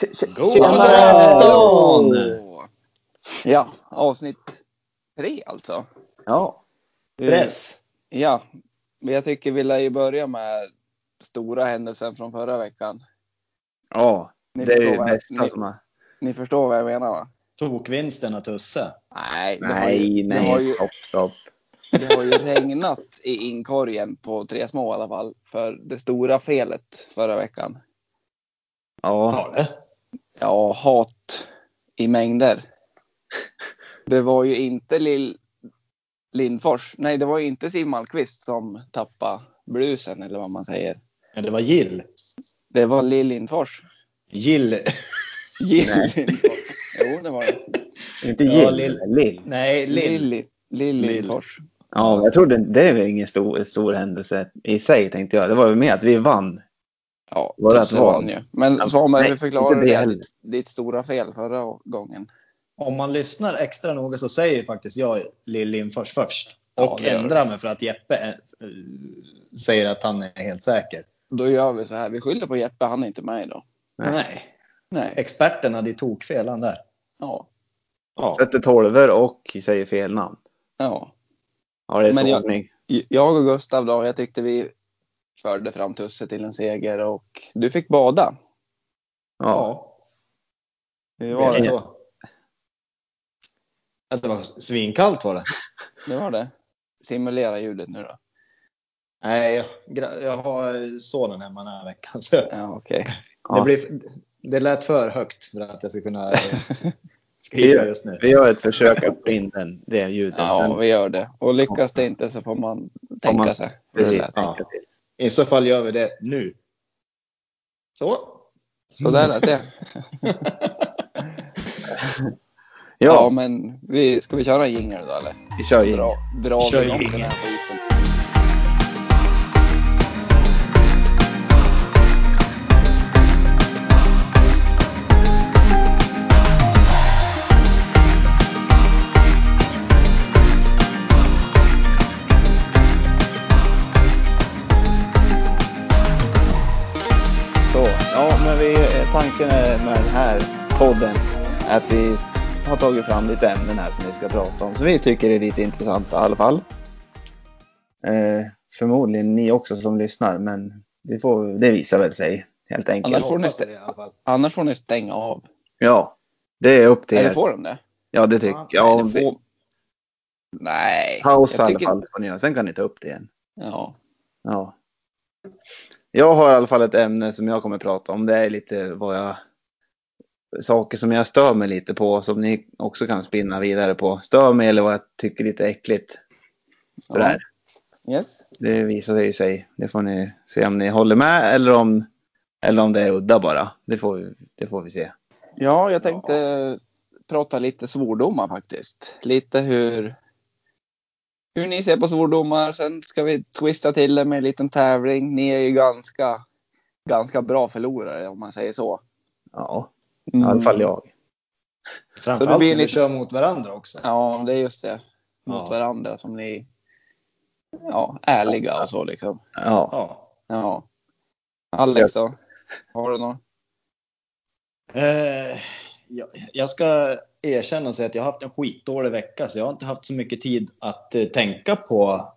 Tje- tje- God afton! Ja, avsnitt tre alltså. Ja, Eh, press. Ja, men jag tycker vi lär ju börja med stora händelsen från förra veckan. Ja, Ni det är förstår ju vad- nästa ni- som är... Ni förstår vad jag menar va? Tokvinsten och Tusse. Nej, det har ju, Nej, Det har nej, ju, stopp, stopp. det har ju regnat i inkorgen på tre små i alla fall för det stora felet förra veckan. Ja, det? Ja, hat i mängder. Det var ju inte Lill Lindfors, nej det var ju inte Siw Malmkvist som tappade blusen eller vad man säger. Men det var Gill. Det var Lill Lindfors. Gill. Jill Lindfors. Jo, det var det. inte Ja, Jill, Lill. men Lill. Nej, Lill. Lill, Lill Lill. Lindfors. Ja, jag trodde det var ingen stor, stor händelse i sig tänkte jag. Det var ju mer att vi vann. Ja, Var det att Tusse det var? vann ju. Men Ja, Samuel, nej, vi förklarade inte det det heller. ditt, ditt stora fel förra gången. Om man lyssnar extra noga så säger faktiskt jag Lill Lindfors först. Ja, Och det gör ändrar mig för att Jeppe eh, säger att han är helt säker. Då gör vi så här, vi skyller på Jeppe, han är inte med idag. Nej. Nej. Nej, Experten hade ju tokfel han där. ja. Ja. Sätter tolvor och säger fel namn. ja. Ja, det är Men jag- sågning. Jag och Gustav då, jag tyckte vi förde fram Tusse till en seger och du fick bada. Ja. Det Det var var det det. så. Ja, Det var svinkallt var det. det, var det. Simulera ljudet nu då. Nej, jag, gra- jag har sonen hemma den här veckan. Så. Ja, okej. Ja. Det, blir, det lät för högt för att jag ska kunna eh, skriva just nu. Vi gör ett försök att få in den, det ljudet. Ja, men- vi gör det. Och lyckas det inte så får man tänka man- sig. hur det Precis. lät. Ja. I så fall gör vi det nu. Så. Så där lät det. Ja, ja, men vi, ska vi köra en jingle då eller? vi kör ju. Dra, dra Kör igång jingle. den här skiten. Så, ja, men vi, eh, tanken är med den här podden är att vi har tagit fram lite ämnen här som vi ska prata om, som vi tycker är lite intressanta i alla fall. Eh, förmodligen ni också som lyssnar, men vi får, det visar väl sig helt Annars enkelt. får ni hoppas se. det i alla fall. Annars får ni stänga av. Ja, det är upp till Eller er. får de det? Ja, det tycker Nej, jag. det får... Nej. Paus i jag alla tycker- fall får ni göra, sen kan ni ta upp det igen. Ja. Ja. Jag har i alla fall ett ämne som jag kommer prata om. Det är lite vad jag... Saker som jag stör mig lite på, som ni också kan spinna vidare på. Stör mig eller vad jag tycker är lite äckligt. Sådär. Yes. Det visar sig ju sig. Det får ni se om ni håller med eller om, eller om det är udda bara. Det får, vi- det får vi se. Ja, jag tänkte prata lite svordomar faktiskt. Lite hur, hur ni ser på svordomar. Sen ska vi twista till det med en liten tävling. Ni är ju ganska, ganska bra förlorare om man säger så. Ja, i alla fall jag. Så det Framförallt blir när vi lite- kör mot varandra också. Ja, det är just det. Mot Ja. varandra som ni ja, ärliga och så liksom. Ja. Ja. Ja. Alex då? Har du något? Eh, jag, jag ska erkänna och säga att jag har haft en skitdålig vecka, så jag har inte haft så mycket tid att eh, tänka på,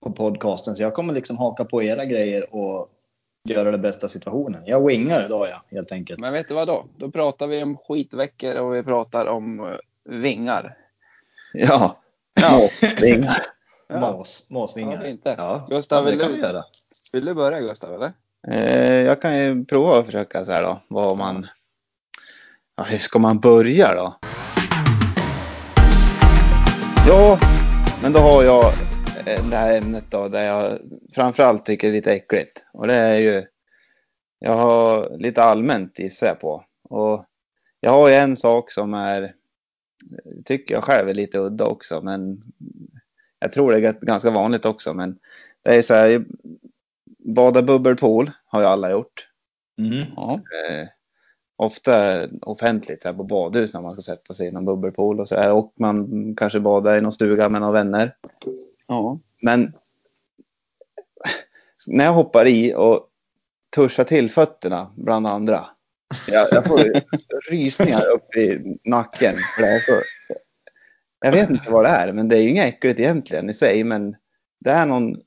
på podcasten. Så jag kommer liksom haka på era grejer och göra det bästa av situationen. Jag wingar idag, ja, helt enkelt. Men vet du vad då? Då pratar vi om skitveckor och vi pratar om eh, vingar. Ja. Ja. Måsvingar. Mås, Ja, det måsvingar. är inte. Ja, Gustav, vill det kan vi du, göra. vill du börja Gustav? Eller? Eh, jag kan ju prova att försöka så här då. Vad man... Ja, hur ska man börja då? Ja, men då har jag eh, det här ämnet då där jag framförallt tycker det är lite äckligt. Och det är ju... Jag har lite allmänt gissar jag på. Och jag har ju en sak som är... Tycker jag själv är lite udda också, men... Jag tror det är ganska vanligt också, men... Det är så här, Bada bubbelpool har ju alla gjort. Mm. Ja. Eh, ofta offentligt så här på badhus när man ska sätta sig i någon bubbelpool och så här. Och man kanske badar i någon stuga med några vänner. ja. Men när jag hoppar i och tuschar till fötterna bland andra. Jag, jag får rysningar upp i nacken. För det här är så, jag vet inte vad det är, men det är ju inget äckligt egentligen i sig. Men det är någon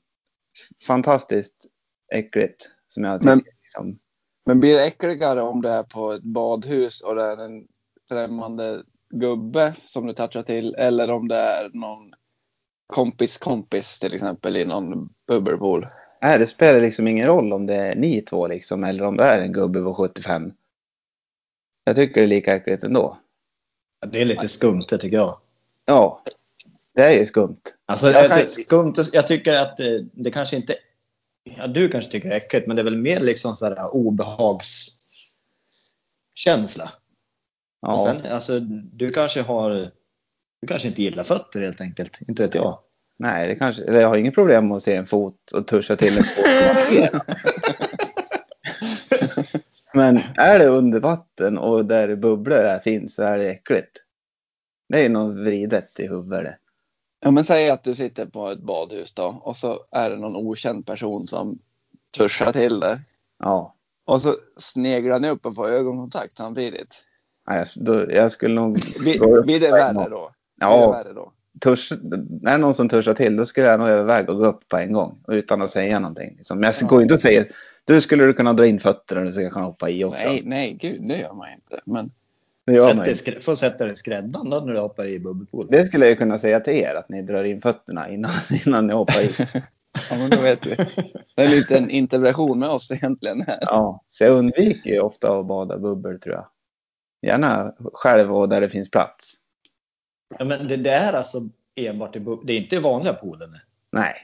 fantastiskt äckligt som jag tycker. Men- liksom. Men blir det äckligare om det är på ett badhus och det är en främmande gubbe som du touchar till eller om det är någon kompis kompis till exempel i någon bubbelpool? Nej, det spelar liksom ingen roll om det är ni två liksom, eller om det är en gubbe på 75. Jag tycker det är lika äckligt ändå. Det är lite skumt det tycker jag. Ja, det är ju skumt. Alltså, Jag jag, kan- ty- skumt, jag tycker att eh, det kanske inte... Ja, du kanske tycker det är äckligt, men det är väl mer liksom så här obehagskänsla. Ja. Och sen, alltså, du kanske har... Du kanske inte gillar fötter helt enkelt, inte vet jag. Nej, det kanske, eller jag har inget problem med att se en fot och tuscha till en fot. Men är det under vatten och där bubblor är finns så är det äckligt. Det är ju något vridet i huvudet. Ja men säg att du sitter på ett badhus då och så är det någon okänd person som tuschar till dig. Ja, Och så sneglar ni upp och får ögonkontakt samtidigt. Nej, jag, då, jag skulle nog... Blir, blir det värre då? Blir det Ja, värre då? törs, är det någon som törsar till då skulle jag nog överväga att gå upp på en gång utan att säga någonting. Liksom. Men jag går ju inte och säger du skulle du kunna dra in fötterna och du skulle kunna hoppa i också. Nej, nej, gud, det gör man inte. Men det gör Sätt man ju. dig i skrä- Får sätta dig i skräddan då när du hoppar i bubbelpool. Det skulle jag ju kunna säga till er, att ni drar in fötterna innan, innan ni hoppar i. Ja, men då vet vi. Det är en liten integration med oss egentligen. här. Ja, så jag undviker ju ofta att bada bubbel tror jag. Gärna själv och där det finns plats. Ja, men det, det är alltså enbart i bubbel... Det är inte i vanliga poolen. Nej,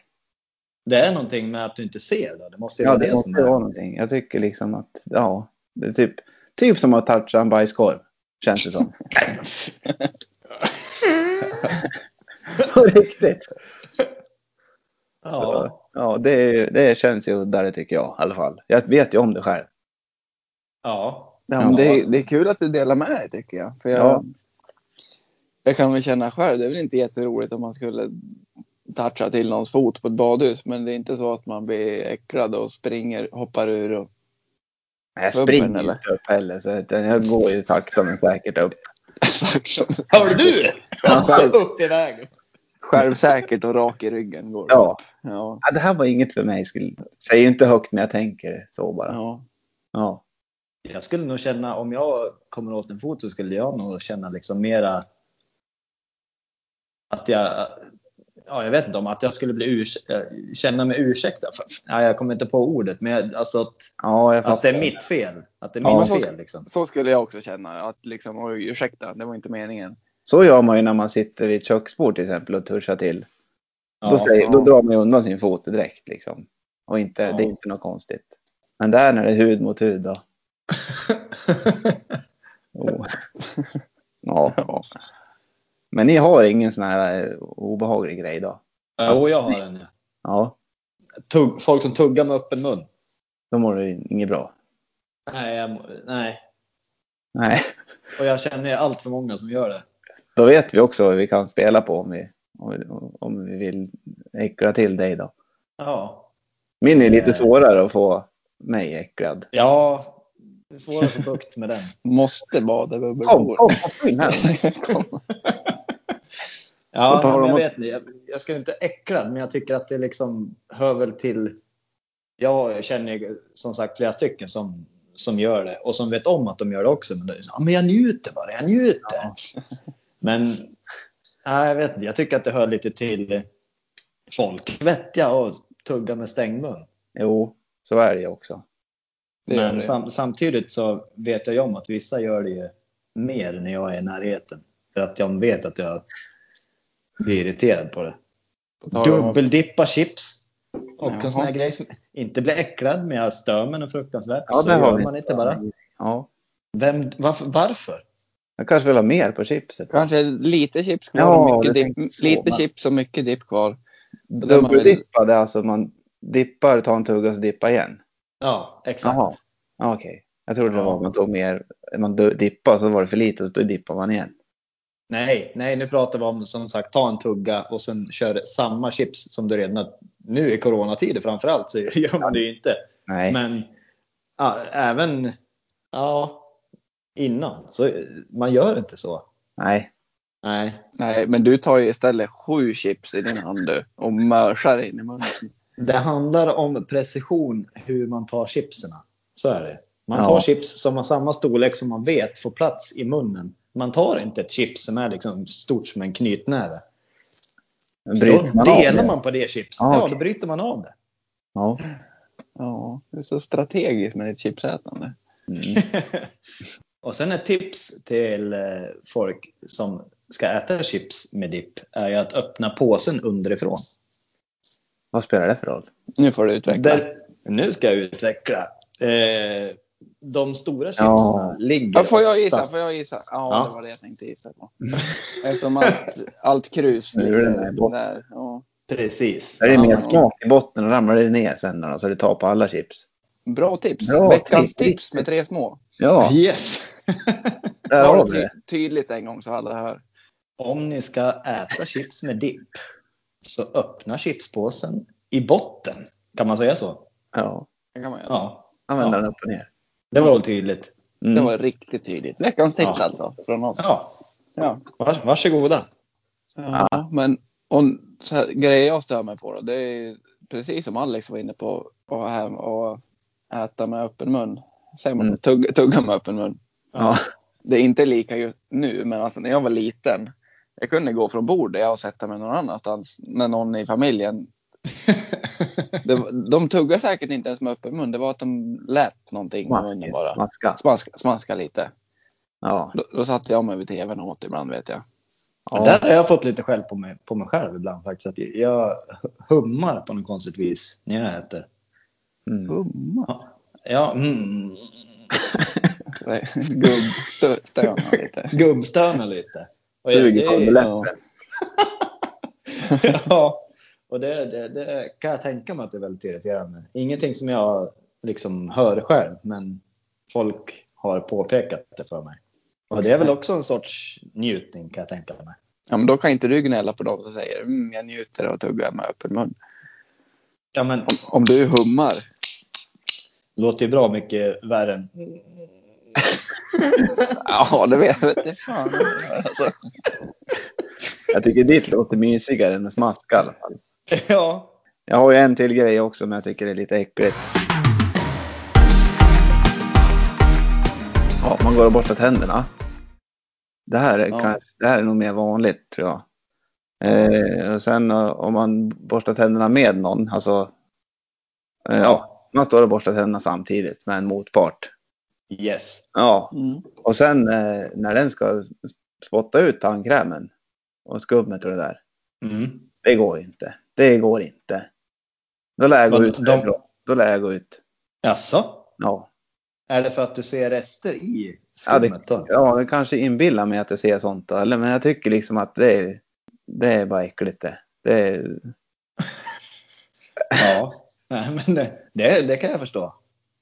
Det är någonting med att du inte ser. Då. Det måste ju ja, vara det, det måste som är... vara någonting. Jag tycker liksom att, ja, det är typ, typ som att toucha en bajskorv. Känns det som. På riktigt. Ja. Ja, det, är ju- det känns ju uddare tycker jag i alla fall. Jag vet ju om det själv. ja. Ja, men det, är, det är kul att du delar med dig tycker jag. För jag, Ja. jag kan väl känna själv, det är väl inte jätteroligt om man skulle toucha till någons fot på ett badhus. Men det är inte så att man blir äcklad och springer, hoppar ur. Och, Men Jag Bubbeln, springer eller? inte upp heller, så utan jag går ju sakta men säkert upp. Exakt som- Hör du? Alltså, upp i vägen. självsäkert och rak i ryggen går det. Ja. Ja, Ja, det här var inget för mig. Skulle... Säger ju inte högt, men jag tänker så bara. ja. Ja. Jag skulle nog känna, om jag kommer åt en fot så skulle jag nog känna liksom mera att jag, ja jag vet inte om att jag skulle bli urs eh, känna mig ursäktad. För, ja, jag kommer inte på ordet, men jag, alltså att, Ja, jag fattar. att det är mitt fel. Att det är Ja. mitt fel liksom. Så skulle jag också känna. Att liksom, oj, ursäkta, det var inte meningen. Så gör man ju när man sitter vid ett köksbord till exempel och tuschar till. då, Ja, säger, ja. då drar man ju undan sin fot direkt liksom. Och inte, det är inte något konstigt. Men där när det är hud mot hud då. Oh. ja. Ja. Men ni har ingen sån här eh, obehaglig grej då? Jo, jag har en. ja. Ja, Tugg, folk som tuggar med öppen mun. då mår du ju inget bra. Nej, jag, må- nej. Nej, Och jag känner ju allt för många som gör det. då vet vi också vad vi kan spela på om vi, om vi, om vi vill äckla till dig då. Ja, Min är lite Eh. svårare att få mig äcklad. ja det är svårare att få bukt med den. Måste bada Kom, bubbelpool. kom, kom in här. Så tar Ja, de men jag upp- vet inte. Jag, jag ska inte äcklad, men jag tycker att det liksom hör väl till... Jag känner ju som sagt flera stycken som, som gör det och som vet om att de gör det också. Men, det är så, ja, men jag njuter bara, jag njuter. Men nej, jag vet inte. Jag tycker att det hör lite till folk. Vettja och tugga med stängd mun. Jo, så är det ju också. Det gör Men det. sam, samtidigt så vet jag ju om att vissa gör det ju mer när jag är i närheten. För att de vet att jag blir irriterad på det. Tar de upp- Dubbeldippa chips. Och Jaha. en sån här grej som inte blir äcklad, men jag stör mig något fruktansvärt. Ja, så det har gör vi. man inte bara. Ja. Vem, varför? varför? Jag kanske vill ha mer på chipset. Kanske lite chips kvar Ja, och mycket det dipp. tänkte jag Lite med. chips och mycket dipp kvar. Dubbeldippa, det är alltså att man dippar, tar en tugga och så dippar igen? Ja, exakt. Jaha. Ja, Okej. Jag trodde det Ja. var att man tog mer, man du- dippade och så var det för lite och så dippar man igen. Nej, nej, nu pratar vi om som sagt ta en tugga och sen kör samma chips som du redan har. Nu i coronatider framför allt så gör man det ju inte. Nej. Men ja, även... Ja, innan. Så eh, man gör inte så. Nej. Nej. Nej, men du tar ju istället sju chips i din hand du och mörsar in i munnen. Det handlar om precision hur man tar chipserna. Så är det. Man tar Ja. chips som har samma storlek som man vet får plats i munnen. Man tar inte ett chips som är liksom stort som en knytnäve. Men Då Bryter man av delar det? man på det chipset. Ja, Ja, okej. då bryter man av det. Ja. Ja, det är så strategiskt med ditt chipsätande. Mm. Och sen ett tips till eh, folk som ska äta chips med dipp är ju att öppna påsen underifrån. Vad spelar det för roll? Nu får du utveckla. Där, nu ska jag utveckla. Eh, de stora chipsen Ja. ligger Ja, får jag gissa? oftast- Får jag gissa? Ja, Ja. det var det jag tänkte gissa på. Eftersom att allt krus Nu är ligger den här där. bort. där. Ja. Precis. Där är det mer Ja. smak i botten och ramlar det ner sen då, så det tar på alla chips. Bra tips. Bra Veckans tips. tips, med tre små. Ja, Yes. där Var har det vi det. ty- tydligt en gång så alla hör. Om ni ska äta chips med dipp så öppna chipspåsen i botten. Kan man säga så? Ja, Det kan man göra. Ja, använda Ja. den upp och ner. det var väl tydligt. Det Mm. var riktigt tydligt. Veckans tips Ja. alltså, från oss. Ja, Ja. vars, varsågoda. Ja, men och, så här, grejer jag stör mig på då, det är ju precis som Alex var inne på, och, här, och äta med öppen mun. Säger man Mm. så? tugga, tugga med öppen mun. Ja. Det är inte lika just nu, men alltså när jag var liten, jag kunde gå från bordet och sätta mig någon annanstans när någon i familjen det, var- De tuggade säkert inte ens med öppen mun, det var att de lät någonting med munnen Smaskigt. bara. Smaska. Smaska, smaska lite. Ja. Då, då satte jag mig vid tvn och åt ibland vet jag. Ja. Där har jag fått lite skäll på mig, på mig själv ibland faktiskt. Att jag hummar på något konstigt vis när jag äter. Mm. Humma. Ja, mm, Gubbstöna lite. gubbstönar lite. Och jag- Suger det- på Ja. läppen. ja, och det, det, det kan jag tänka mig att det är väldigt irriterande. Ingenting som jag liksom hör själv, men folk har påpekat det för mig. Och det är väl också en sorts njutning kan jag tänka mig. ja, men då kan inte du gnälla på dem som säger mm, jag njuter av att tugga med öppen mun. Ja, men Om, om du hummar. låter ju bra mycket värre än... Ja, det vet jag inte. Fan. Alltså, Jag tycker ditt låter mysigare än att smaska i alla fall. Ja. Jag har ju en till grej också, men jag tycker det är lite äckligt. Ja, man går och borstar tänderna. Det här, är Ja. kanske, det här är nog mer vanligt, tror jag. Eh, och sen eh, om man borstar tänderna med någon, alltså... Eh, ja, man står och borstar tänderna samtidigt med en motpart. Yes. Ja, mm. och sen eh, när den ska spotta ut tandkrämen och skummet och det där. Mm. Det går ju inte. Det går inte. Då lär jag gå Men ut. de- därifrån. Då lär jag gå ut. Jaså? Ja. Är det för att du ser rester i Ja, det, skummet då? ja, det kanske inbillar mig att jag ser sånt. då, Eller, men jag tycker liksom att det är, det är bara äckligt det. det är, Ja. Nej, men det, det, det kan jag förstå.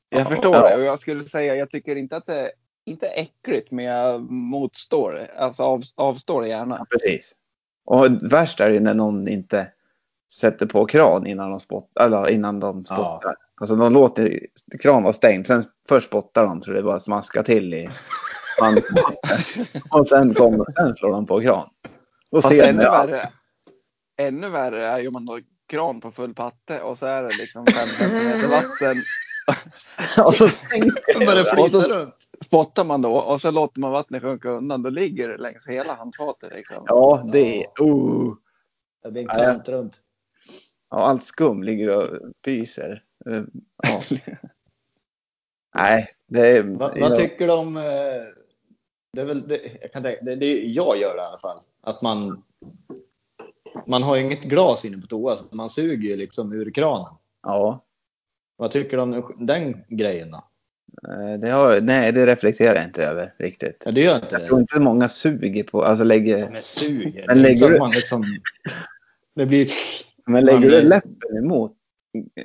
Jag förstår Ja. det och jag skulle säga jag tycker inte att det inte är äckligt men jag motstår det. Alltså av, avstår det gärna. precis. Och värst är det ju när någon inte sätter på kran innan de, spott, eller innan de Ja. spottar. Alltså de låter kran vara stängd. Sen först spottar de så det bara smaskar till i handen. Och sen, kommer, sen slår de på kran. Då Fast ser ännu man ju allt. värre, ännu värre är ju om man har kran på full patte och så är det liksom 5 centimeter vatten. Och så tänker Den börjar Och flyta runt. Spottar man då och så låter man vattnet sjunka undan. Då ligger det längs hela handfatet. Liksom. Ja, det är... Oh. Det blir en Ja, ja. kant runt. Ja, allt skum ligger och pyser. Eh, Ja. Nej, det är... Va, ja, vad tycker du om... eh, Det är väl, det, jag, kan tänka, det, det, är- jag gör det i alla fall. Att man... Man har ju inget glas inne på toa, så man suger ju liksom ur kranen. ja, Vad tycker du om den grejen då? eh, det har, nej, det reflekterar jag inte över riktigt. Ja, det gör inte Jag tror det. inte många suger på... Alltså lägger... Men suger. Men lägger så att du- man liksom... Det blir... Men lägger Man- du läppen emot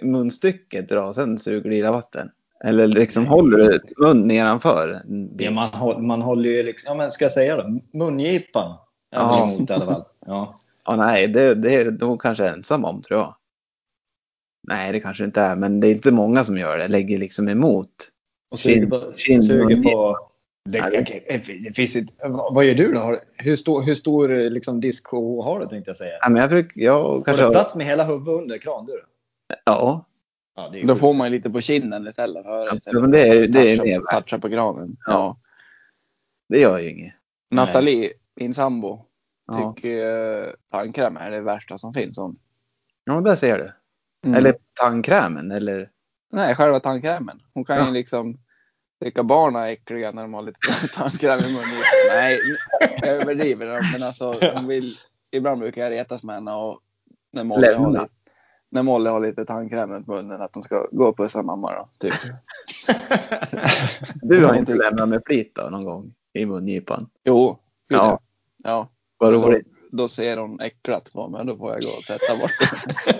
munstycket då, och sen suger du i det vatten? Eller liksom håller du mun nedanför? en bit? Ja, man, håll, man håller ju liksom... Ja, men ska jag säga då? Mungipan. Ja. Ja. Emot, i alla fall. Ja. Ja, nej, det, det är de kanske ensamma om, tror jag. Nej, det kanske inte är, men det är inte många som gör det. Lägger liksom emot. Och suger på, Kind- suger på Det, Ja, det- okej, det finns inte, vad vad gör du då? Har- Hur stor, hur stor eh, liksom, diskho har du tänkte jag säga? Ja, men jag brukar... Jag Har kanske... du plats med hela huvudet under kran? Du? Ja. Ja, det är ju Då sjukt. får man ju lite på kinden istället för Ja, istället men det är- för att det är toucha- mer värt. Toucha på granen. Ja. Det gör ju inget. Nej. Nathalie, min sambo, Ja, tycker uh, tandkräm är det värsta som finns. Hon. ja där ser du. Mm. Eller tandkrämen, eller... Nej, själva tandkrämen. Hon kan Ja. ju liksom tycka barn är äckliga när de har lite tandkräm i munnen. Nej, jag överdriver. det, Men alltså, hon vill, ibland brukar jag retas med henne och när Molly, har Lämna. lite, när Molly har lite tandkräm runt munnen att hon ska gå och pussa mamma. Då, typ. Du har Någonting. inte lämnat med flit då, någon gång i mungipan? Jo, gud, Ja. ja. ja. Vad Då- roligt. Då ser hon äcklat på mig. Då får jag gå och tvätta bort det.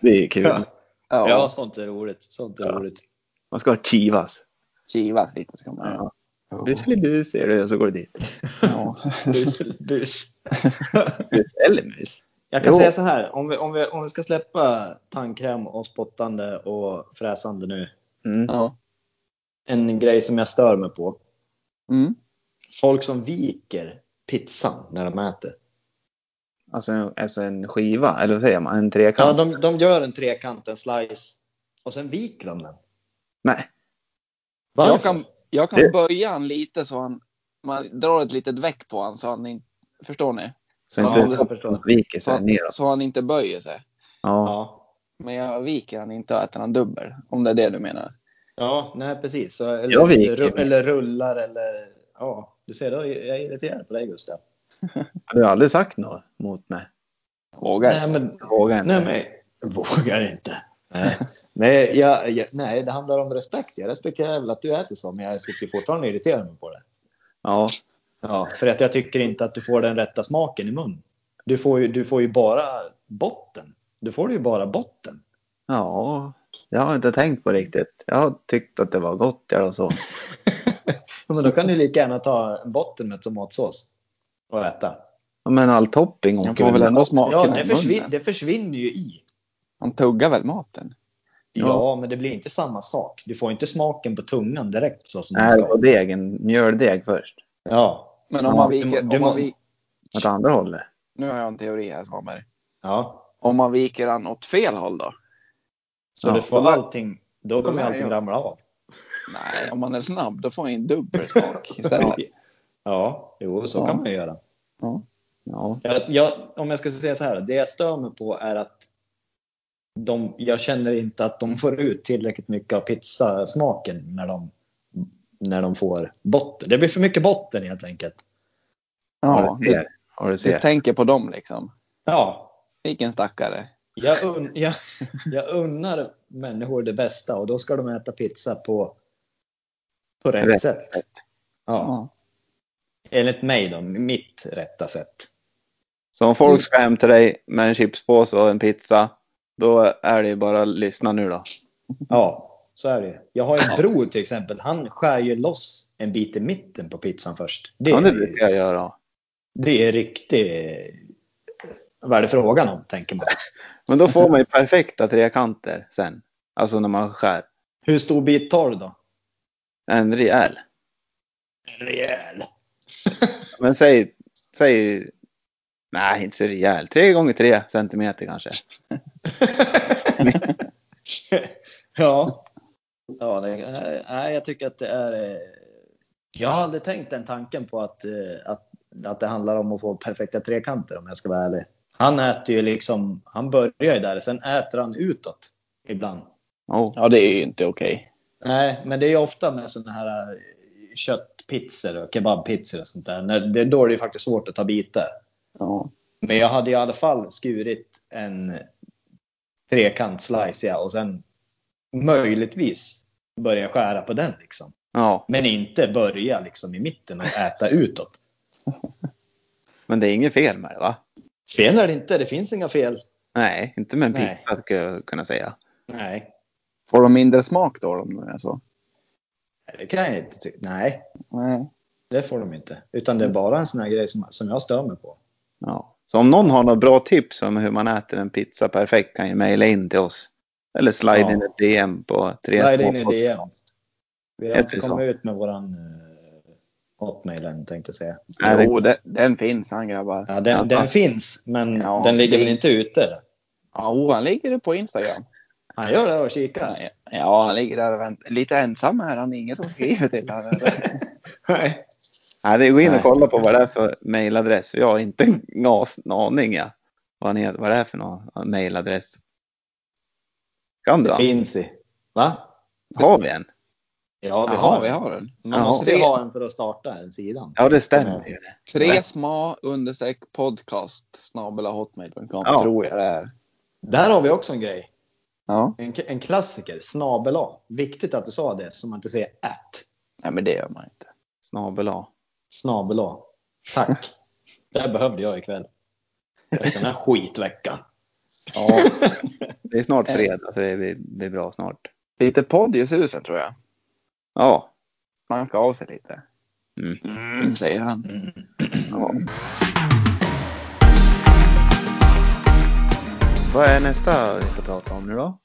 Det är kul. Ja. Ja, Ja, sånt är roligt. Sånt är Ja. roligt. Man ska kivas. kivas lite ska man göra. Buselimus ser du, och så går du dit. Ja. Bus, bus. Bus eller mus. Jag kan Jo. säga så här, om vi, om, vi, om vi ska släppa tandkräm och spottande och fräsande nu. Mm. Ja. En grej som jag stör mig på. Mm. Folk som viker pizzan när de äter. Alltså, en- alltså en skiva, eller vad säger man? En trekant? Ja, de, de gör en trekant, en slice, och sen viker de den. Nej. Varför? Jag kan, jag kan Det- böja han lite så han... Man drar ett litet väck på han så han inte... Förstår ni? Så Ja, inte jag förstår. toppen viker Så, sig neråt. så han inte böjer sig. Ja. Ja. Men jag viker han inte och äter han dubbel. Om det är det du menar. ja, nej precis. Så, eller, Jag viker. ru- eller rullar eller... Ja, du ser, då, är jag är irriterad på dig Gustav. Du har aldrig sagt något mot mig. Vågar. Nej, men, Jag Vågar inte. nej, men jag vågar inte. Nej, nej, jag, jag, nej, det handlar om respekt. Jag respekterar väl att du äter så, men jag sitter ju fortfarande och irriterar mig på det. Ja. Ja, för att jag tycker inte att du får den rätta smaken i mun. Du får ju, du får ju bara botten. Du får ju bara botten. ja. Jag har inte tänkt på riktigt. Jag har tyckt att det var gott eller så. Ja, Men då kan du lika gärna ta en botten med tomatsås och äta. Men all topping Han får åker väl undan. ändå smaken Ja, i det, munnen. försvin- det försvinner ju i. Han tuggar väl maten? Ja. Ja. men det blir inte samma sak. Du får inte smaken på tungan direkt så som Nej, du det var ska. degen. Mjöldeg först. Ja. Men om Ja, man du må- viker... du om man må- vi, Åt andra hållet. nu har jag en teori här Svanberg. ja. Om man viker han åt fel håll då? Så Ja. du får allting. Då då kommer lär allting jag- ramla av. Nej, om man är snabb då får han en dubbel smak istället. Ja, jo, så Ja. kan man ju göra. Ja. Jag, jag, om jag ska säga så här, det jag stör mig på är att de, jag känner inte att de får ut tillräckligt mycket av pizzasmaken när de, när de får botten. Det blir för mycket botten helt enkelt. Ja, Ja, du du, ser. Ja, du du ser. tänker på dem liksom. Ja, Vilken stackare. jag, un, jag, jag unnar människor det bästa och då ska de äta pizza på, på rätt, Rätt sätt. Ja, Ja. enligt mig då, mitt rätta sätt. Så om Mm. folk ska hem till dig med en chipspåse och en pizza, då är det ju bara att lyssna nu då. Ja, så är det ju. Jag har en bror till exempel. Han skär ju loss en bit i mitten på pizzan först. Det Ja, är, det brukar jag göra. det är riktigt... Vad är det frågan om, tänker man. Men då får man ju perfekta trekanter sen. Alltså när man skär. Hur stor bit tar du då? En rejäl. En rejäl. Men säg, säg... Nej, inte så rejäl. Tre gånger tre centimeter kanske. ja. ja det, nej, jag tycker att det är... eh, Jag har aldrig tänkt den tanken på att, eh, att, att det handlar om att få perfekta trekanter om jag ska vara ärlig. Han äter ju liksom... Han börjar ju där, sen äter han utåt ibland. Oh. ja, det är ju inte okej. Nej, men det är ju ofta med sådana här eh, köttpizzor och kebabpizzor och sånt där. När det, då är det ju faktiskt svårt att ta bitar. Ja. Men jag hade i alla fall skurit en trekant slice ja, och sen möjligtvis börja skära på den liksom. Ja, Men inte börja liksom i mitten och äta utåt. men det är inget fel med det va? Fel är det inte, det finns inga fel. Nej, inte med en Nej. pizza skulle jag kunna säga. Nej, Får de mindre smak då om det är så? det kan jag inte tycka. Nej, Nej. det får de inte. Utan det är bara en sån här grej som, som jag stör mig på. Ja. Så om någon har några bra tips om hur man äter en pizza perfekt kan ju mejla in till oss. Eller slide Ja. in ett DM på tre Slide in i små- DM. Vi har inte Heter det kommit ut med våran eh, hotmail än tänkte jag säga. Nej, Jo, den, den finns han grabbar. Ja, den, den finns, men Ja, den ligger det- väl inte ute? Ja, oh, han ligger det på Instagram. Han gör det och kikar. Ja, han ligger där och väntar. Lite ensam är han. Ingen som skriver till honom. Nej. Nej, det går in Nej. och kolla på vad det är för mejladress. För jag har inte en as- en aning ja. vad, han heter, vad det är för någon mejladress. Kan du? Det Ann? finns i. Va? Har vi en? Ja, vi Jaha, har vi den. har den. Man Ja. måste ju ha en för att starta den sidan. Ja, det stämmer ju. Tre sma understreck podcast snabel hotmail.com Ja. tror jag det är. Där har vi också en grej. Ja, En, en klassiker, snabel A. Viktigt att du sa det, så man inte säger att. nej men det gör man inte. Snabel A. Snabel A. Tack. det här behövde jag ikväll. Efter den här skitveckan. Ja. Det är snart fredag så det blir, det blir bra snart. Lite podd i susen tror jag. Ja, Man ska av sig lite. Mm. Mm, säger han. Ja. vad är nästa vi ska prata om nu då?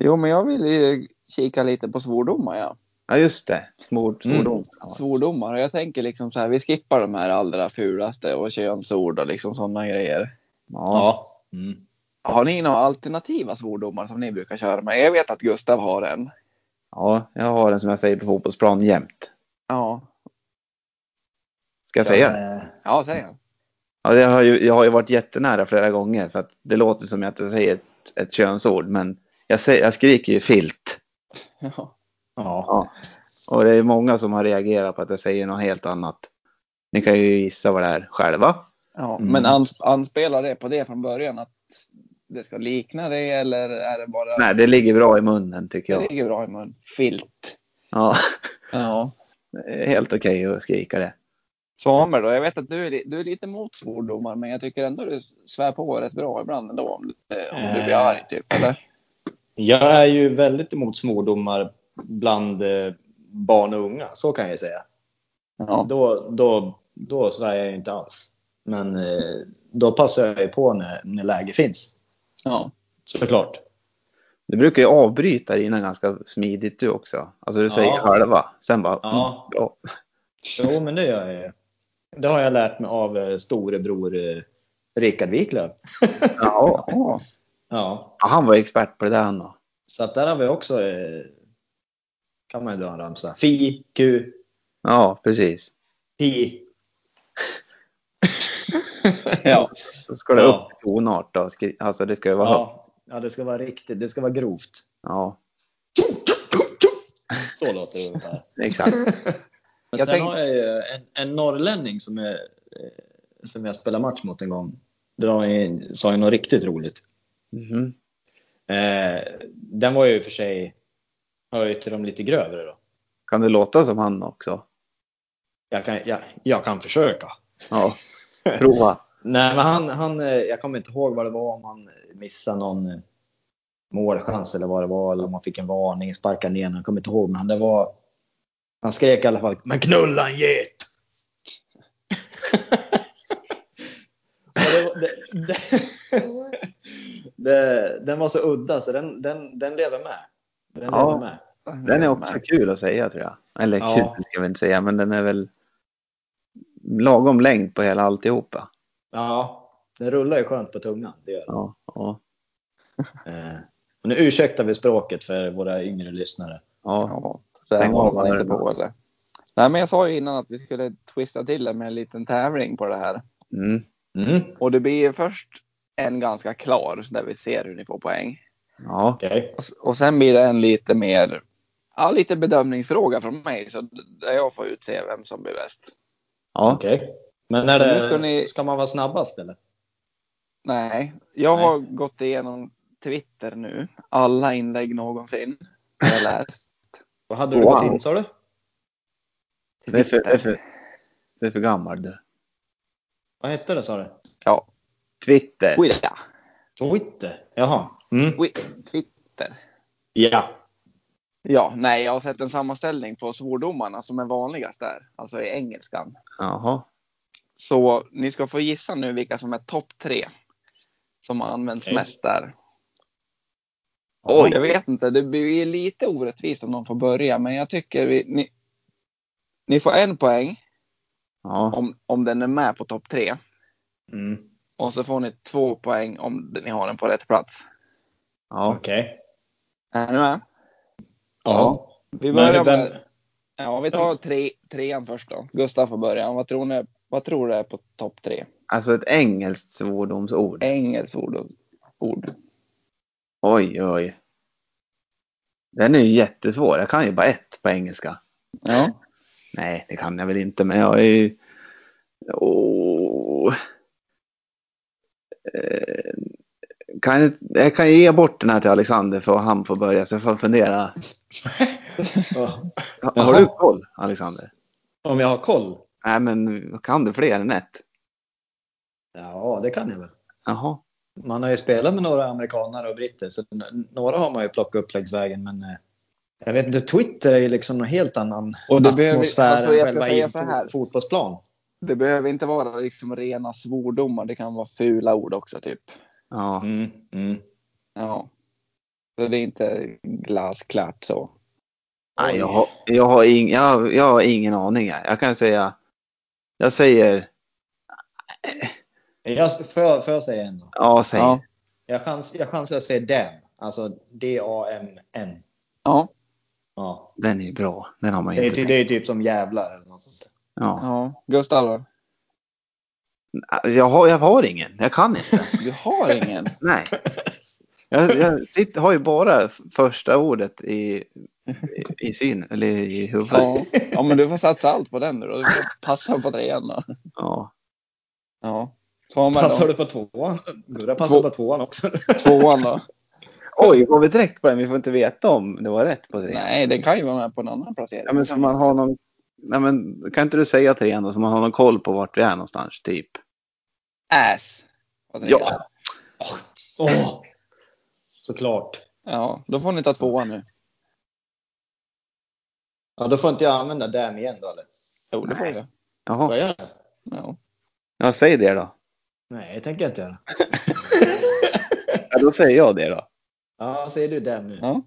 Jo, men jag vill ju kika lite på svordomar. Ja. Ja, just det. Smord, Mm. svordom. Ja. Svordomar. Och jag tänker liksom så här, vi skippar de här allra fulaste och könsord och liksom sådana grejer. Ja. Ja. Mm. Har ni några alternativa svordomar som ni brukar köra med? Jag vet att Gustav har en. ja, jag har den som jag säger på fotbollsplan jämt. Ja, Ska jag säga det? eh, ja säger han. Ja, det har ju, jag har ju varit jättenära flera gånger för att det låter som att jag säger ett, ett könsord men jag, säger, jag skriker ju filt. Ja. Ja. Ja. Och det är många som har reagerat på att jag säger något helt annat. Ni kan ju gissa vad det är själva. Ja, Mm. Men ans- anspelar det på det från början? Att det ska likna det eller är det bara... Nej, det ligger bra i munnen tycker Det jag. ligger bra i mun. Filt. Ja, Ja. det är helt okej att skrika det. Samer då? Jag vet att du är, li- du är lite mot svordomar, men jag tycker ändå du svär på rätt bra ibland ändå. Om, du- om du blir Eh. arg typ, eller? Jag är ju väldigt emot svordomar bland eh, barn och unga, så kan jag ju säga. Ja. Då, då, då svär jag ju inte alls. Men eh, då passar jag ju på när, när läge finns, ja. såklart. Du brukar ju avbryta dina ganska smidigt du också. Alltså du säger Ja. halva, sen bara... Ja. mm, bra. Jo, men det gör jag ju. Det har jag lärt mig av eh, storebror eh, Rickard Wiklöf. Ja. Ja. Ja, Ja, Han var ju expert på det där han då. så att där har vi också... Eh, kan man ju dra en ramsa. Fi, ku, Ja, precis. pi. ja. Då ska det Ja. upp i tonart då. Skri- Alltså det ska ju vara högt. Ja, ja, det ska vara riktigt. Det ska vara grovt. Ja, Så låter det ungefär. exakt. Men Jag sen tänk- har jag ju en, en norrlänning som, är, eh, som jag spelade match mot en gång. Det var ju, sa ju något riktigt roligt. Mhm. Eh, den var ju för sig, hör ju till de lite grövre då. Kan du låta som han också? Jag kan, jag, jag kan försöka. Ja, prova. Nej, men han, han, eh, jag kommer inte ihåg vad det var, om han missade någon eh, målchans eller vad det var, eller om han fick en varning, sparkade ner honom. Jag kommer inte ihåg, men det var... Han skrek i alla fall ”Men knulla en get!” Och det, var- det, det, det, Den var så udda, så den, den, den lever med. Den Ja. lever med. Den är också kul att säga tror jag. Eller Ja. kul ska vi inte säga, men den är väl lagom längd på hela alltihopa. Ja, den rullar ju skönt på tungan. Det gör den. Ja, ja, Eh, och nu ursäktar vi språket för våra yngre lyssnare. ja. Ja. Så där Stäng håller av man den. inte på eller? Nej, men jag sa ju innan att vi skulle twista till det med en liten tävling på det här. Mm. Mm. Och det blir ju först en ganska klar där vi ser hur ni får poäng. ja. Okej. Och s- Och sen blir det en lite mer, ja lite bedömningsfråga från mig. Så d- där jag får utse vem som blir bäst. ja. Okej. Men är det, Nu ska ska, ni- man vara snabbast eller? Nej, jag Nej. har gått igenom Twitter nu. Alla inlägg någonsin. har Jag läst. Vad hade du du Wow. gått gått in, in sa du? Det, är för, det, är för, det är för gammal du. Vad hette det sa du? Ja, Twitter. Twitter. Twitter. Jaha. Mm. Twi- Twitter. Ja. Ja, nej, jag har sett en sammanställning på svordomarna som är vanligast där, alltså i engelskan. Jaha. Så ni ska få gissa nu vilka som är topp tre som har använts Okej. mest där. Åh, jag vet inte, det blir ju lite orättvist om de får börja, men jag tycker vi, ni, ni får en poäng Ja. om, om den är med på topp tre. Mm. Och så får ni två poäng om ni har den på rätt plats. ja. Okej. Är ni med? Ja. Vi Men börjar vem- med, ja, vi tar tre, trean först då. Gustav får börja. Vad tror ni, vad tror du är på topp tre? Alltså ett engelskt svordomsord. Engelskt ord. och- ord. Oj, oj. Den är ju jättesvår. Jag kan ju bara ett på engelska. Ja. Nej, det kan jag väl inte, men jag är ju... Åh. Eh, Kan jag, jag kan ju ge bort den här till Alexander för att han får börja, så jag får fundera. Ja. Ha- Jaha. Har du koll, Alexander? Om jag har koll? Nej, men kan du fler än ett? Ja, det kan jag väl. Jaha. Man har ju spelat med några amerikanare och britter, så n- några har man ju plockat upp längs vägen, men eh, jag vet inte, Twitter är ju liksom någon helt annan Och det behöver- atmosfär alltså, jag än ska själva säga i så här. fo- fotbollsplan. Det behöver inte vara liksom rena svordomar. Det kan vara fula ord också typ. Ja. Mm, mm. Ja. Så det är inte glasklart så. Nej, jag, har, jag, har ing, jag, har- jag har ingen aning. här. Jag kan säga... Jag säger... Jag, får, jag, får jag säga en då? Ja, säg. Ja. Jag, chans, jag chansar att säga dem, alltså D-A-M-N. Ja. Ja. Den är ju bra. Den har man ju Det, är, inte. ty- det är typ som jävlar eller något sånt. där. Ja. ja. Gustav då? Alltså, Jag, har, jag har ingen. Jag kan inte. Du har ingen? Nej. Jag, jag sitter, har ju bara f- första ordet i, i, i syn, eller i huvudet. Ja. ja, men du får satsa allt på den nu då. Du får passa på trean då. Ja. Ja. Samuel Passar då? du på tvåan? Gurra passar Två- på tvåan också. Tvåan då? Oj, går vi direkt på den? Vi får inte veta om det var rätt på trean. Nej, den kan ju vara med på en annan placering. Ja, men så man har någon... Nej, men kan inte du säga trean då, så man har någon koll på vart vi är någonstans, typ? Ass. Vad den Ja. heter. Åh! Såklart. ja. Då får ni ta tvåan nu. Ja, då får inte jag använda dem igen då eller? Jo, det får Nej. du. Får Jaha. jag göra det? Ja. Ja, säg det då. Nej, det tänker jag inte göra. Ja, då säger jag det då. Ja, säger du dem nu? ja.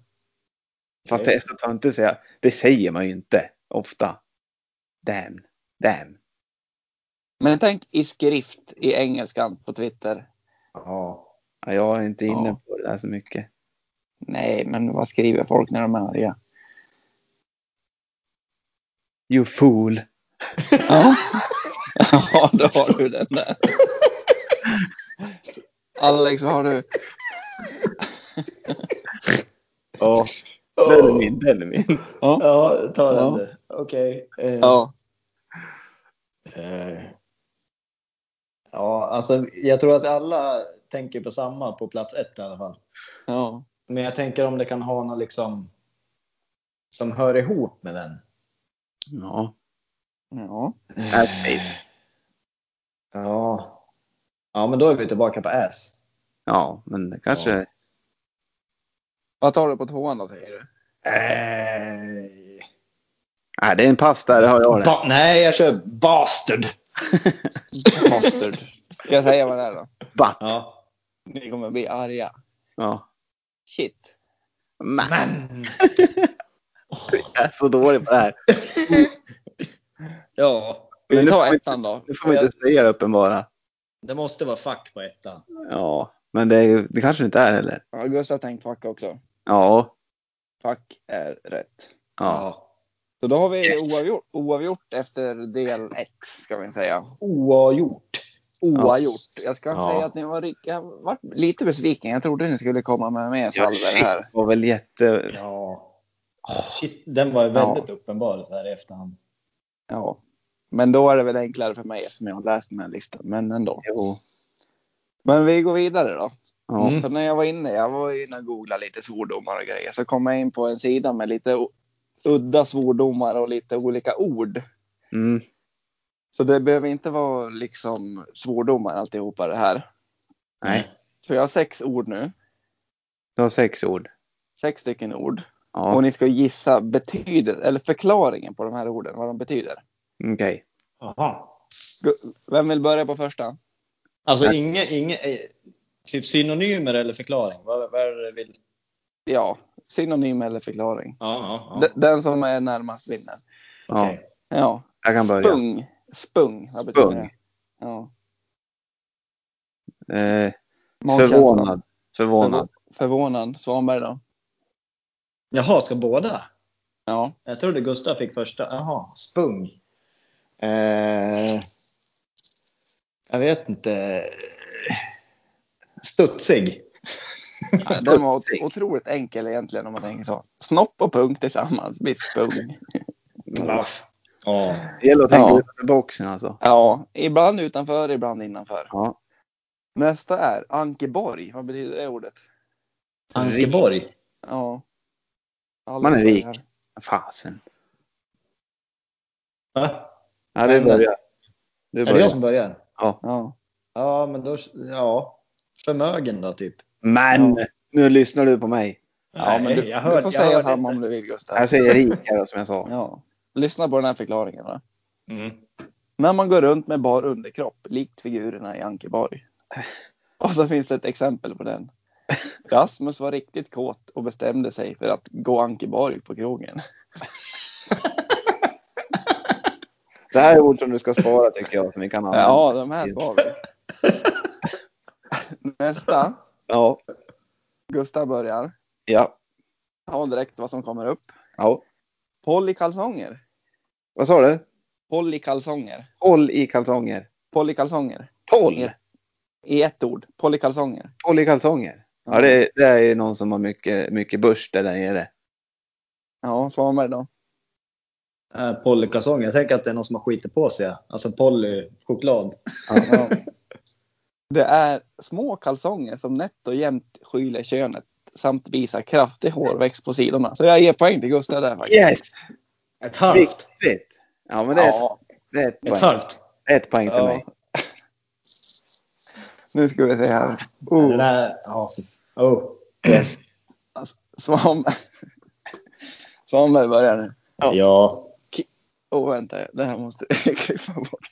Fast det är så töntigt att säga. Det säger man ju inte ofta. Damn. Damn. Men tänk i skrift i engelskan på Twitter. Ja. Ja, jag är inte inne Ja. på det där så mycket. Nej, men vad skriver folk när de är arga? You fool. Ja. ja, då har du den där. Alex, vad har du? Ja, den är min. Den är min. Ja, ta den Ja. du. Okej. eh, Ja. eh, ja, alltså jag tror att alla tänker på samma på plats ett i alla fall. ja. Men jag tänker om det kan ha något liksom som hör ihop med den. Ja. Ja. Ass-babe. Eh. Ja. Ja, men då är vi tillbaka på S. Ja, men det kanske... Ja. Vad tar du på tvåan då, säger du? Eh, Nej, det är en pass där. Det har jag det. ba- nej, jag kör bastard. Bastard. Ska jag säga vad det är då? Butt. Ja. Ja. Ni kommer bli arga. Shit. Man, Men. jag är så dålig på det här. Ja. Vi nu får tar man ettan inte- då. Nu får man inte säga det uppenbara. Det måste vara fack på ettan. Ja, men det, är, ju- det kanske det inte är heller. Ja, Gustav tänkt fuck också. Ja. Fuck är rätt. Ja. Så då har vi Yes. oavgjort, oavgjort efter del 1, ska vi säga. Oavgjort. Oavgjort. Jag ska Ja. säga att ni var, ri- jag var lite besviken. Jag trodde ni skulle komma med mer Ja, salver här. Det var väl jätte... Ja. Shit, den var ju väldigt uppenbar så här i efterhand. Ja. Men då är det väl enklare för mig eftersom jag har läst den här listan. Men ändå. Jo. Men vi går vidare då. Ja. Mm. För när jag var inne, jag var inne och googlade lite svordomar och grejer. Så kom jag in på en sida med lite o- udda svordomar och lite olika ord. Mm. Så det behöver inte vara liksom svordomar alltihopa det här. Nej, Så jag har sex ord nu. du har sex ord. Sex stycken ord. Och Ja, ni ska gissa betyder, eller förklaringen på de här orden, vad de betyder. okej. Jaha. Vem vill börja på första? Alltså inga, inga, eh, typ synonymer eller förklaring? Vad, vad är det du vill? ja, synonym eller förklaring. Ja, ja, D- Den som är närmast vinner. Ja, Okej. Ja. jag kan börja. Spung. Spung. Vad betyder Spung. det? Ja. Eh, Magkänsla. förvånad. Förvånad. Förvå- Förvånad. Svanberg då? Jaha, ska båda? Ja. Jag trodde Gustav fick första. Jaha, spung. Eh, jag vet inte. Studsig. Ja, Den var ot- otroligt enkel egentligen om man tänker så. Snopp och pung tillsammans blir spung. Ja. Det gäller att tänka Ja. utanför boxen alltså. Ja, ibland utanför, ibland innanför. Ja. Nästa är Ankeborg. Vad betyder det ordet? Ankeborg. Ja. Alla Man är rik. borgar. Fasen. Va? Ja, du börjar. Du Är det jag börjar. som börjar? Ja. Ja, men då... Ja. Förmögen då, typ. Men nu lyssnar du på mig. Ja, men du, jag du får jag säga hörde samma inte. om du vill Gustav. Jag säger rikare som jag sa. Ja. Lyssna på den här förklaringen. Va? Mm. När man går runt med bar underkropp, likt figurerna i Ankeborg. Och så finns det ett exempel på den. Rasmus var riktigt kåt och bestämde sig för att gå Ankeborg på krogen. Det här är ord som du ska spara tycker jag, som vi kan använda. Ja, de här spar vi. Nästa. Ja. Gustav börjar. Ja. Ta direkt vad som kommer upp. ja. Polykalsonger. Vad sa du? Polykalsonger. Håll i kalsonger. Polykalsonger. Poll! Ja. I ett ord. Polykalsonger. Poll i kalsonger. Ja, det, det är ju någon som har mycket, mycket börste där nere. Ja, Svanberg då. Äh, Polykasong. Jag tänker att det är någon som har skitit på sig. Alltså Polly, choklad. Ja. Det är små kalsonger som nätt och jämnt skyler könet samt visar kraftig hårväxt på sidorna. Så jag ger poäng till Gustav där faktiskt. Yes! Ett halvt. Viktigt! Ja, men det är, Ja, det är ett Ett poäng. halvt. Ett poäng till Ja. mig. nu ska vi se här. Det Oh, där- Ja, fy- oh. Svan... Svanberg börjar nu. Ja. Ja. Åh, oh, vänta. Det här måste jag klippa bort.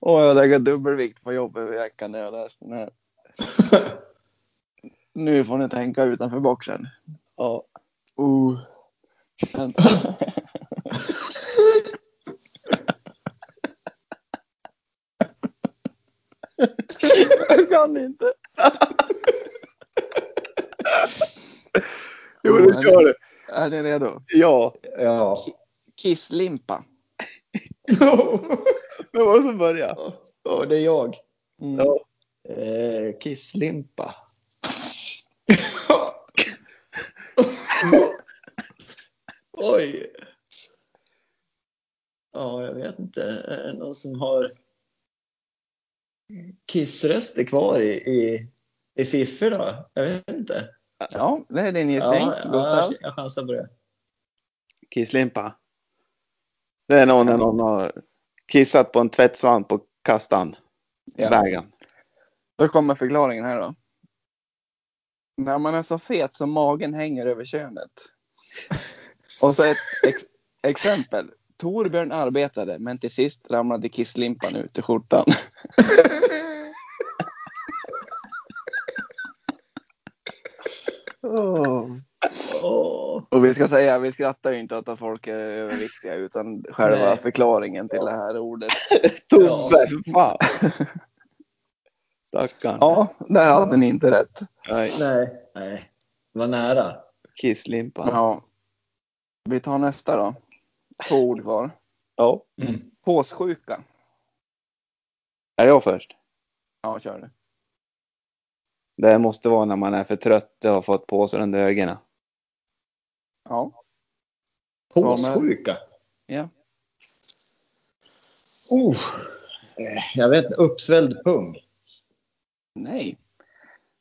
Åh, jag har legat dubbelvikt på jobbet i veckan när jag läste den här. Nu får ni tänka utanför boxen. Ja. Oh. Vänta. Jag kan inte. Jo, nu kör du! Är ni redo? Ja! Ja. Kisslimpa. Vem var det som började? Och det är jag. Mm. Ja. Eh, kisslimpa. Oj. Ja, jag vet inte. Är det någon som har kissrester kvar i, i, i fiffer då? Jag vet inte. ja, det är din gissning. ja, Gustav. jag, jag chansar på det. Kisslimpa. Det är någon när någon har kissat på en tvättsvamp och kastat den. Ja. Vägen. Då kommer förklaringen här då. När man är så fet så magen hänger över könet. Och så ett ex- exempel. Torbjörn arbetade men till sist ramlade kisslimpan ut ur skjortan. Åh. Och vi ska säga, vi skrattar ju inte åt att folk är överviktiga utan själva Nej. förklaringen till det här ordet. Tobbe! Fan! Stackarn. Ja, där hade ni inte rätt. Nej. Nej. Nej. Var nära. Kisslimpa. Ja. Vi tar nästa då. Två ord kvar. Ja. Påssjuka. Är jag först? Ja, kör du. Det måste vara när man är för trött och har fått på sig under ögonen. Ja. Påssjuka? Ja. Oh. Jag vet inte. Uppsvälld pung. Nej.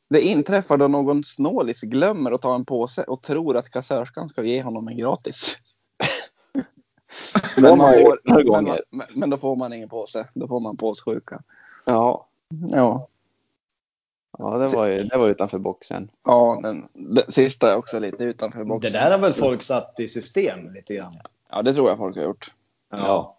Det inträffar då någon snålis glömmer att ta en påse och tror att kassörskan ska ge honom en gratis. Det har man får- gjort några men, gånger. man- men, men då får man ingen påse. Då får man påssjuka. Ja, Ja, ja det, var ju, det var utanför boxen. ja den, den sista är också lite utanför Det boxen. där har väl folk satt i system lite grann? Ja, det tror jag folk har gjort. Ja.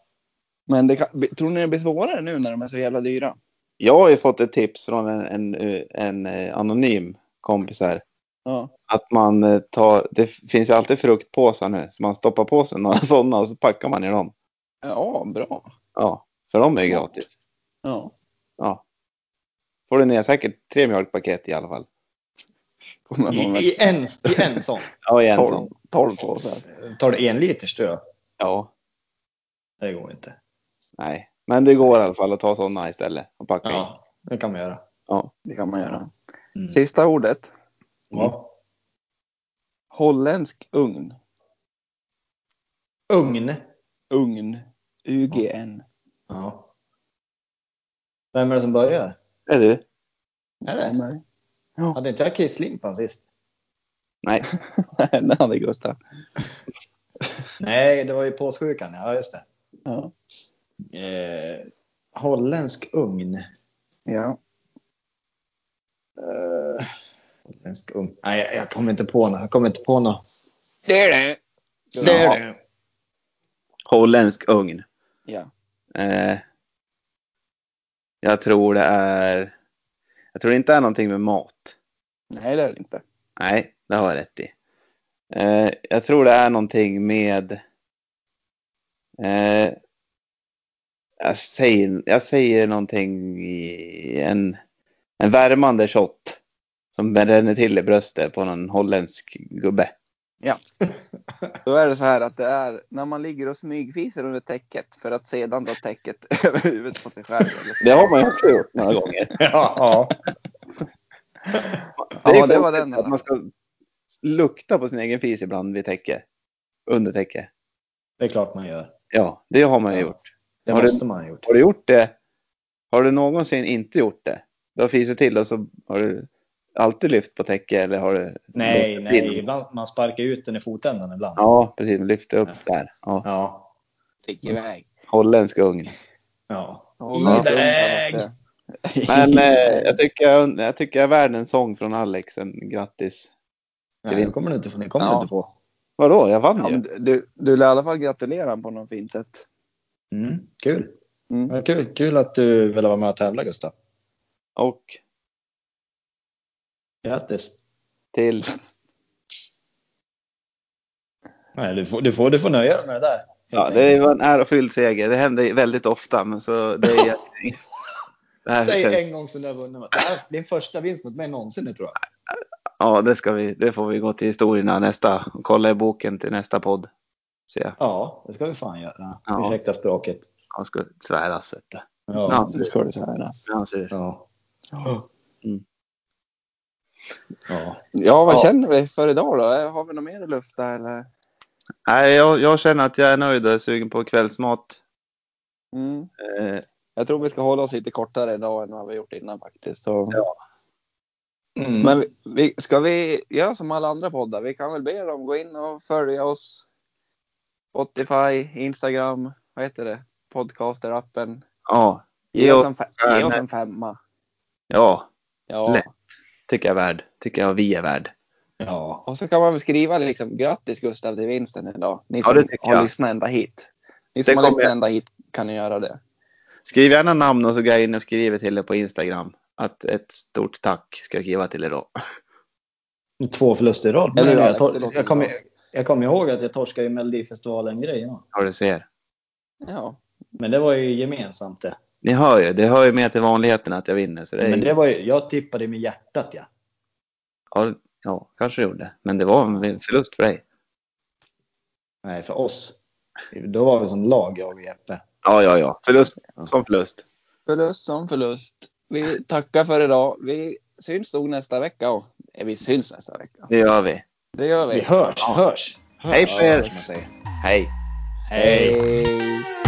Men det kan, be- tror ni det blir svårare nu när de är så jävla dyra? jag har ju fått ett tips från en, en, en eh, anonym kompis här. Ja. Att man eh, tar, det finns ju alltid fruktpåsar nu, så man stoppar på sig några sådana och så packar man i dem. Ja, bra. Ja, för de är ju gratis. ja. Ja. Får du ner säkert tre mjölkpaket i alla fall. Kommer I, någon med i, en, I en sån. Ja, i en tolv, sån. tolv påsar. Tar du en liters du då? Ja, Det går inte. nej. Men det går i alla fall att ta sådana istället och packa in. Ja, Mm. det kan man göra. Ja. Det kan man göra. Mm. Sista ordet. Ja. Holländsk ugn. Ugn. Ugn. UGN. Ja. Vem är det som börjar? Är du? Är det? Nej, Hade inte jag kisslimpan sist? Nej. det hade Gustav. Nej, det var ju påssjukan. Ja, just det. Ja. Eh, holländsk ugn. ja. Eh, holländsk ugn. Nej, jag- jag kommer inte på något. Jag kommer inte på något. Det är det. Det är det. Holländsk ugn. Ja. Eh, jag tror det är... Jag tror det inte är någonting med mat. Nej, det är det inte. Nej, det har jag rätt i. Eh, jag tror det är någonting med... Eh, jag, säger, jag säger någonting i en, en värmande shot som ränner till i bröstet på någon holländsk gubbe. Då är det så här att det är när man ligger och smygfiser under täcket för att sedan dra täcket över huvudet på sig själv. Det har man ju också gjort några gånger. Ja. Ja, är det var konstigt den i alla Att man ska lukta på sin egen fis ibland vid täcke. Under täcke. Det är klart man gör. Ja, det har man ju Ja. gjort. Det Har du- måste man ha gjort. Har du gjort det? Har du någonsin inte gjort det? Du har fisit till och så har du alltid lyft på täcke eller har du? Nej, luktat nej. in? Ibland, man sparkar ut den i fotändan ibland. Ja, precis. Lyft upp där. Ja. Ja. Stick iväg. Holländsk ugn. ja. Holländsk ugn kallas Iväg! det. Men eh, jag, tycker jag, jag tycker jag är värd en sång från Alex. En grattis. Nej, det kommer du inte få. Det kommer Ja. du inte få. Vadå? Jag vann Ja, ju. men du, du lär i alla fall gratulera honom på något fint sätt. Mm, kul. Mm. Ja, kul. Kul att du ville vara med och tävla, Gustav. Och Grattis. till... Nej, du, får, du, får, du får nöja dig med det där. helt Ja, enkelt. det var en ärofylld seger. Det händer väldigt ofta, men så det är... Det här Säg känns... en gång som du har vunnit. mot- Det här är din första vinst mot mig någonsin nu, tror jag. Ja, det, ska vi, det får vi gå till historierna nästa. Kolla i boken till nästa podd. Se, Ja, det ska vi fan göra. Ja. Ursäkta språket. han ska sväras. vet du. Ja. Ja. Det ska du säga. När han ser- Ja. Ja. Mm. Ja. Ja, vad Ja. känner vi för idag då? Eh, Har vi något mer att lufta eller? Nej, jag, jag känner att jag är nöjd och är sugen på kvällsmat. Mm. Eh, Jag tror vi ska hålla oss lite kortare idag än vad vi gjort innan faktiskt. Så. Mm. Men vi, vi, ska vi göra som alla andra poddar? Vi kan väl be dem gå in och följa oss. Spotify, Instagram, vad heter det? Podcaster-appen. ja, Ge Ge oss oss en, fe- ge oss stjärnor. en femma. ja, Ja. Lätt. tycker jag är värd. Tycker jag vi är värd. ja. Och så kan man väl skriva liksom grattis Gustav till vinsten idag. Ni Ja, som det tycker har jag. lyssnat ända hit. Ni som Det har kommer lyssnat jag. ända hit kan ni göra det. Skriv gärna namn och så går jag in och skriver till er på Instagram. Att ett stort tack ska jag skriva till er då. Två förluster i rad. Eller Men hur, jag, Alex? Det tor- låter jag, kommer, bra. jag kommer ihåg att jag torskade i Melodifestivalen-grejen. ja. Har du ser. Ja. Men det var ju gemensamt det. Ni hör ju, det hör ju med till vanligheten att jag vinner. Så det är Men ju- det var ju, jag tippade med hjärtat, ja. Ja, ja, kanske det gjorde. Men det var en förlust för dig. Nej, för oss. Då var vi som lag, jag och Jeppe. Ja, ja, ja. Förlust som förlust. Förlust som förlust. Vi tackar för idag. Vi syns nog nästa vecka. Och, eh, vi syns nästa vecka. Det gör vi. Det gör vi. Vi hörs, hörs. Hej på Ja, er. hörs man säger. Hej. Hej. Hej.